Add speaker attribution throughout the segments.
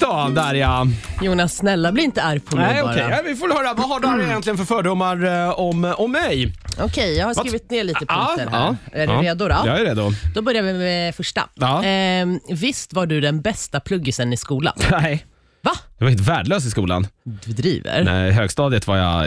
Speaker 1: då, Darja?
Speaker 2: Jonas, snälla bli inte arg på mig
Speaker 1: Nej,
Speaker 2: bara.
Speaker 1: okej. Ja, vi får höra. Vad har Darja egentligen för fördomar eh, om, om mig?
Speaker 2: Okej, jag har skrivit ner lite
Speaker 1: Ja,
Speaker 2: punkter här.
Speaker 1: Ah, ja,
Speaker 2: är du
Speaker 1: ja.
Speaker 2: redo då?
Speaker 1: Jag är redo.
Speaker 2: Då börjar vi med första.
Speaker 1: Ja.
Speaker 2: Ehm, visst var du den bästa pluggisen i skolan?
Speaker 1: Nej.
Speaker 2: Va?
Speaker 1: Jag var helt värdelös i skolan.
Speaker 2: Du driver?
Speaker 1: Nej, i högstadiet var jag...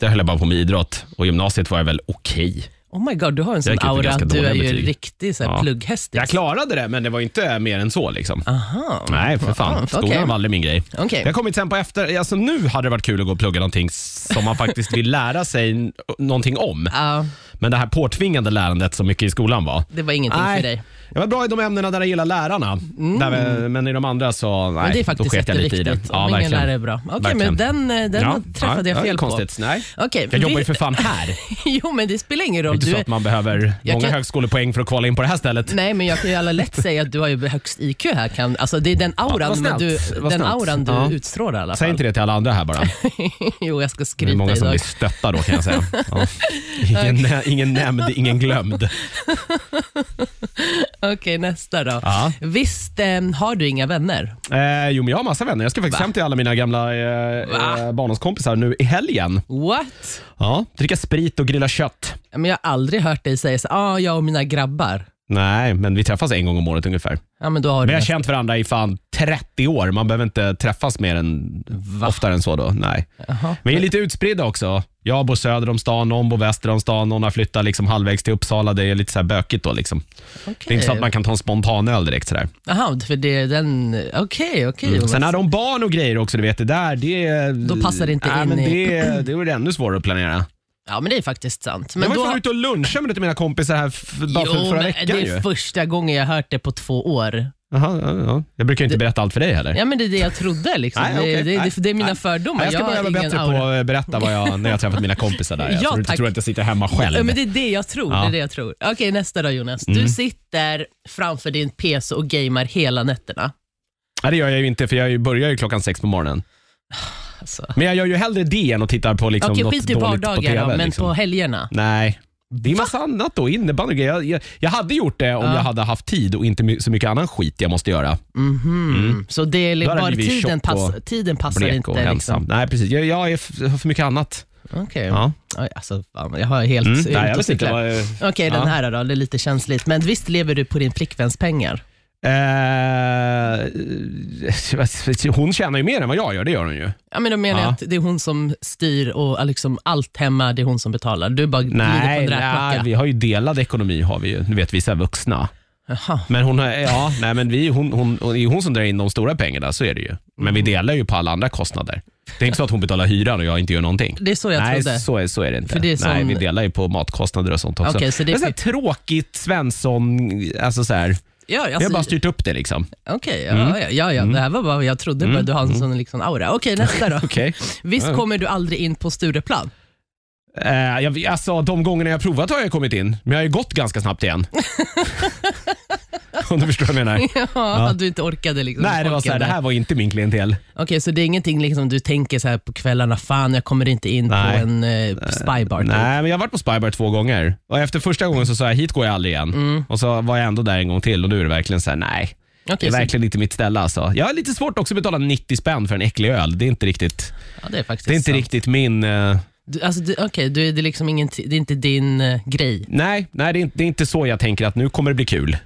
Speaker 1: Där höll jag bara på med idrott och gymnasiet var jag väl okej.
Speaker 2: Oh my god, du har en sån
Speaker 1: gick ut med
Speaker 2: aura
Speaker 1: ganska
Speaker 2: att du
Speaker 1: dåliga
Speaker 2: är ju en
Speaker 1: betyg.
Speaker 2: riktig så här,
Speaker 1: Ja.
Speaker 2: plugghäst.
Speaker 1: Jag klarade det, men det var inte mer än så. Liksom.
Speaker 2: Aha.
Speaker 1: Nej, för
Speaker 2: Ah. okej.
Speaker 1: fan. Skolan var aldrig min grej.
Speaker 2: Okej.
Speaker 1: Jag har kommit sen på efter. Alltså, nu hade det varit kul att gå och plugga någonting som man faktiskt vill lära sig n- någonting om.
Speaker 2: Ja,
Speaker 1: Men det här påtvingande lärandet som mycket i skolan var.
Speaker 2: det var ingenting
Speaker 1: Nej.
Speaker 2: för dig.
Speaker 1: Jag var bra i de ämnena där jag gillar lärarna, där, vi- men i de andra så nej,
Speaker 2: Mm. Men det är
Speaker 1: då
Speaker 2: faktiskt
Speaker 1: sket jag lite i
Speaker 2: jätteviktigt.
Speaker 1: det.
Speaker 2: Om ingen
Speaker 1: verkligen.
Speaker 2: lärare är bra. Okej, men
Speaker 1: Verkligen.
Speaker 2: den, eh, den träffade
Speaker 1: ja,
Speaker 2: jag
Speaker 1: det är
Speaker 2: fel på.
Speaker 1: konstigt. Nej.
Speaker 2: Okej,
Speaker 1: Jag jobbar ju
Speaker 2: vi-
Speaker 1: för fan här. Det
Speaker 2: Jo, men det spelar ingen
Speaker 1: är
Speaker 2: roll.
Speaker 1: inte
Speaker 2: Du
Speaker 1: så
Speaker 2: är-
Speaker 1: att man behöver
Speaker 2: Jag
Speaker 1: många
Speaker 2: kan-
Speaker 1: högskolepoäng för att kvala in på det här stället.
Speaker 2: Nej, men jag kan ju alla lätt säga att du har ju högst IQ här. Kan, alltså, det är den
Speaker 1: Ja,
Speaker 2: auran
Speaker 1: vad snällt.
Speaker 2: du,
Speaker 1: Vad
Speaker 2: den
Speaker 1: snällt.
Speaker 2: auran du
Speaker 1: Ja.
Speaker 2: utstrålar i alla
Speaker 1: Säg
Speaker 2: fall.
Speaker 1: inte det till alla andra här bara.
Speaker 2: jo, jag ska
Speaker 1: Det är
Speaker 2: skryta
Speaker 1: många som
Speaker 2: idag.
Speaker 1: blir stötta då kan jag säga. Ja. Ingen, nä- ingen nämnd, ingen glömd.
Speaker 2: Okej, nästa då.
Speaker 1: Ja.
Speaker 2: Visst eh, har du inga vänner?
Speaker 1: Eh, jo, men jag har massa vänner. Jag ska faktiskt hem till alla mina gamla
Speaker 2: Va?
Speaker 1: eh, eh, barndomskompisar nu i helgen.
Speaker 2: What?
Speaker 1: Ja, dricka sprit och grilla kött.
Speaker 2: Men jag har aldrig hört dig säga så ah, jag och mina grabbar.
Speaker 1: Nej, men vi träffas en gång om året ungefär.
Speaker 2: Ja, men då har
Speaker 1: Vi
Speaker 2: du
Speaker 1: har
Speaker 2: nästa.
Speaker 1: känt varandra i fan 30 år. Man behöver inte träffas mer än oftare än så då. Nej.
Speaker 2: Jaha.
Speaker 1: Vi är lite utspridda också. Jag bor söder om stan, någon bor väster om stan, någon har flyttat liksom halvvägs till Uppsala. Det är lite så här bökigt då. Liksom. Det är inte så att man kan ta en spontan öl direkt. Sådär.
Speaker 2: Jaha, för det är den... Okej, okej. Jonas.
Speaker 1: Mm. Sen har de barn och grejer också, du vet det där. Det,
Speaker 2: Då passar det inte
Speaker 1: Nej,
Speaker 2: in
Speaker 1: Men
Speaker 2: i-
Speaker 1: det, det vore ännu svårare att planera.
Speaker 2: Ja, men det är faktiskt sant.
Speaker 1: jag
Speaker 2: Men
Speaker 1: var ju
Speaker 2: då...
Speaker 1: fan ute och lunchade med lite mina kompisar här f- bara
Speaker 2: Jo,
Speaker 1: för, förra
Speaker 2: men
Speaker 1: veckan.
Speaker 2: det är
Speaker 1: Ju.
Speaker 2: första gången jag har hört det på två år.
Speaker 1: Jaha, ja, ja. Jag brukar ju inte berätta allt för dig heller.
Speaker 2: Ja, men det är det jag trodde. Liksom.
Speaker 1: Nej,
Speaker 2: det,
Speaker 1: okej.
Speaker 2: det,
Speaker 1: Nej.
Speaker 2: det, det är mina
Speaker 1: Nej.
Speaker 2: fördomar.
Speaker 1: Nej, jag ska
Speaker 2: har
Speaker 1: börja vara
Speaker 2: ingen
Speaker 1: bättre
Speaker 2: aura.
Speaker 1: på att berätta vad jag, när jag har träffat mina kompisar där.
Speaker 2: Ja,
Speaker 1: så du inte
Speaker 2: tack.
Speaker 1: tror att jag sitter hemma själv.
Speaker 2: Ja, men det är det jag tror.
Speaker 1: Ja. Mm.
Speaker 2: Det är det jag tror. Okej, nästa då Jonas. Du sitter framför din PC och gamer hela nätterna.
Speaker 1: Nej, det gör jag ju inte för jag är ju- börjar ju klockan sex på morgonen.
Speaker 2: Alltså.
Speaker 1: Men jag gör ju hellre det än att titta på liksom,
Speaker 2: Okej,
Speaker 1: något
Speaker 2: skit i
Speaker 1: dåligt på
Speaker 2: vardagar
Speaker 1: TV.
Speaker 2: då, men
Speaker 1: liksom.
Speaker 2: på helgerna.
Speaker 1: Nej. Det är massa annat då, innebandy och grejer. jag, jag, jag hade gjort det om jag hade haft tid och inte my- så mycket annan skit jag måste göra.
Speaker 2: Mhm. Så det är
Speaker 1: Mm. Då hade
Speaker 2: bara
Speaker 1: det blivit
Speaker 2: tiden,
Speaker 1: tjock
Speaker 2: pass,
Speaker 1: och
Speaker 2: tiden passar
Speaker 1: Brek och
Speaker 2: inte.
Speaker 1: ensam.
Speaker 2: Liksom.
Speaker 1: Nej, precis. Jag, jag är f- har för mycket annat.
Speaker 2: Okej.
Speaker 1: Ja.
Speaker 2: Oj, Alltså, fan, jag har helt
Speaker 1: Mm.
Speaker 2: ut
Speaker 1: Nej, jag
Speaker 2: och
Speaker 1: vet inte
Speaker 2: cyklar.
Speaker 1: vad... eh,
Speaker 2: Okej, den
Speaker 1: Ja.
Speaker 2: här då. Det är lite känsligt. Men visst lever du på din flickväns pengar?
Speaker 1: Eh, hon tjänar ju mer än vad jag gör, det gör hon ju.
Speaker 2: Ja, men då menar jag
Speaker 1: Ja.
Speaker 2: att det är hon som styr och liksom allt hemma, det är hon som betalar. Du bara glider på en
Speaker 1: Nej, nej
Speaker 2: räkmacka.
Speaker 1: vi har ju delad ekonomi, har vi ju. Du vet, vissa är vuxna.
Speaker 2: Jaha.
Speaker 1: Men hon, har- ja, nej, men vi, hon, hon, hon, det är hon som drar in de stora pengarna, så är det ju. Men
Speaker 2: Mm.
Speaker 1: vi delar ju på alla andra kostnader. Det är inte så att hon betalar hyran och jag inte gör någonting.
Speaker 2: Det är så jag
Speaker 1: Nej,
Speaker 2: trodde.
Speaker 1: så är, så är det inte.
Speaker 2: För det är
Speaker 1: Nej,
Speaker 2: sån-
Speaker 1: vi delar ju på matkostnader och sånt också.
Speaker 2: Okej, så det är
Speaker 1: Men så här tråkigt Svensson, alltså så här.
Speaker 2: Ja,
Speaker 1: vi
Speaker 2: alltså,
Speaker 1: har bara styrt upp det liksom.
Speaker 2: Okej, ja, ja, ja, ja. det här var bara vad jag trodde.
Speaker 1: Mm.
Speaker 2: Bara, du har en sån liksom aura. Okej, nästa då.
Speaker 1: Okej.
Speaker 2: Visst
Speaker 1: Ja.
Speaker 2: kommer du aldrig in på Stureplan?
Speaker 1: Eh, jag, alltså, de gångerna jag har provat har jag kommit in, men jag har ju gått ganska snabbt igen. Om du förstår vad jag menar.
Speaker 2: Ja, Att du inte orkade liksom.
Speaker 1: Nej, det var
Speaker 2: folken
Speaker 1: så här, det
Speaker 2: där.
Speaker 1: här var inte min klientel.
Speaker 2: Okej, så det är ingenting liksom, du tänker så här på kvällarna, fan jag kommer inte in
Speaker 1: Nej.
Speaker 2: på en eh, spybar. typ.
Speaker 1: Nej, men jag har varit på Spybar två gånger. Och Efter första gången så sa jag, hit går jag aldrig igen.
Speaker 2: Mm.
Speaker 1: Och så var jag ändå där en gång till och nu är det verkligen så här, nej. Det
Speaker 2: Okej,
Speaker 1: är
Speaker 2: så,
Speaker 1: verkligen inte mitt ställe alltså. Jag har lite svårt också att betala 90 spänn för en äcklig öl. Det är inte riktigt,
Speaker 2: ja, det är faktiskt
Speaker 1: det är inte
Speaker 2: sant.
Speaker 1: riktigt min... eh,
Speaker 2: Du, alltså, du, okej, du, det, är liksom ingen, det är inte din eh, grej.
Speaker 1: nej, nej det, är, inte- det är inte så jag tänker att nu kommer det bli kul.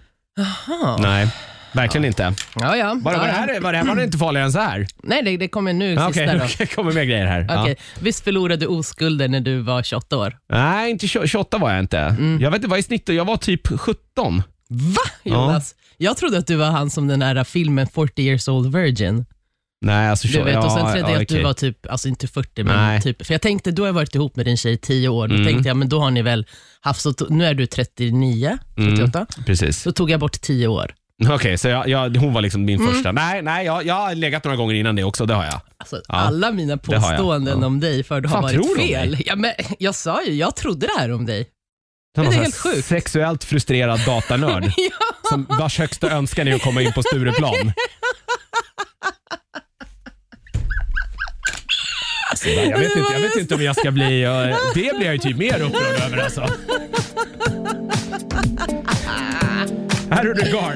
Speaker 1: Nej, verkligen inte.
Speaker 2: Ja, ja.
Speaker 1: Bara,
Speaker 2: ja,
Speaker 1: var, det
Speaker 2: ja.
Speaker 1: här, var det här var det inte farligare än så här?
Speaker 2: Nej, det, det kommer nu
Speaker 1: Ja, Ah, Okej,
Speaker 2: sista då.
Speaker 1: det kommer mer grejer här. Ja.
Speaker 2: Okej. Visst förlorade du oskulden när du var 28 år?
Speaker 1: Nej, inte tjo- 28 var jag inte.
Speaker 2: Mm.
Speaker 1: Jag vet inte vad i snitt, jag var typ 17.
Speaker 2: Va, Jonas? Jag trodde att du var han som den här filmen 40 years old virgin.
Speaker 1: Nej, alltså
Speaker 2: Du vet, och sen trodde jag att du
Speaker 1: okej.
Speaker 2: var typ, alltså inte 40, men
Speaker 1: Nej. Mm.
Speaker 2: typ, för jag tänkte, du har varit ihop med din tjej i 10 år, då tänkte jag, men då har ni väl haft, så, nu är du 39,
Speaker 1: Mm.
Speaker 2: 38,
Speaker 1: Precis.
Speaker 2: då tog jag bort 10 år.
Speaker 1: Okej, så jag, jag, hon var liksom min
Speaker 2: Mm.
Speaker 1: första. Nej, nej jag, jag har legat några gånger innan det också, det har jag.
Speaker 2: Alltså, Alla mina
Speaker 1: har jag.
Speaker 2: påståenden
Speaker 1: Ja.
Speaker 2: om dig för du har
Speaker 1: Fan, tror
Speaker 2: varit
Speaker 1: du om
Speaker 2: fel.
Speaker 1: mig?
Speaker 2: Ja, men, jag sa ju, jag trodde det här om dig.
Speaker 1: Någon
Speaker 2: det är
Speaker 1: sån här
Speaker 2: helt sjukt.
Speaker 1: Sexuellt frustrerad datanörd som vars högsta önskan är att komma in på Stureplan. Alltså, Jag vet, inte, jag vet inte om jag ska bli... jag- Det blir jag ju typ mer upprörd över alltså. Här är du Gar.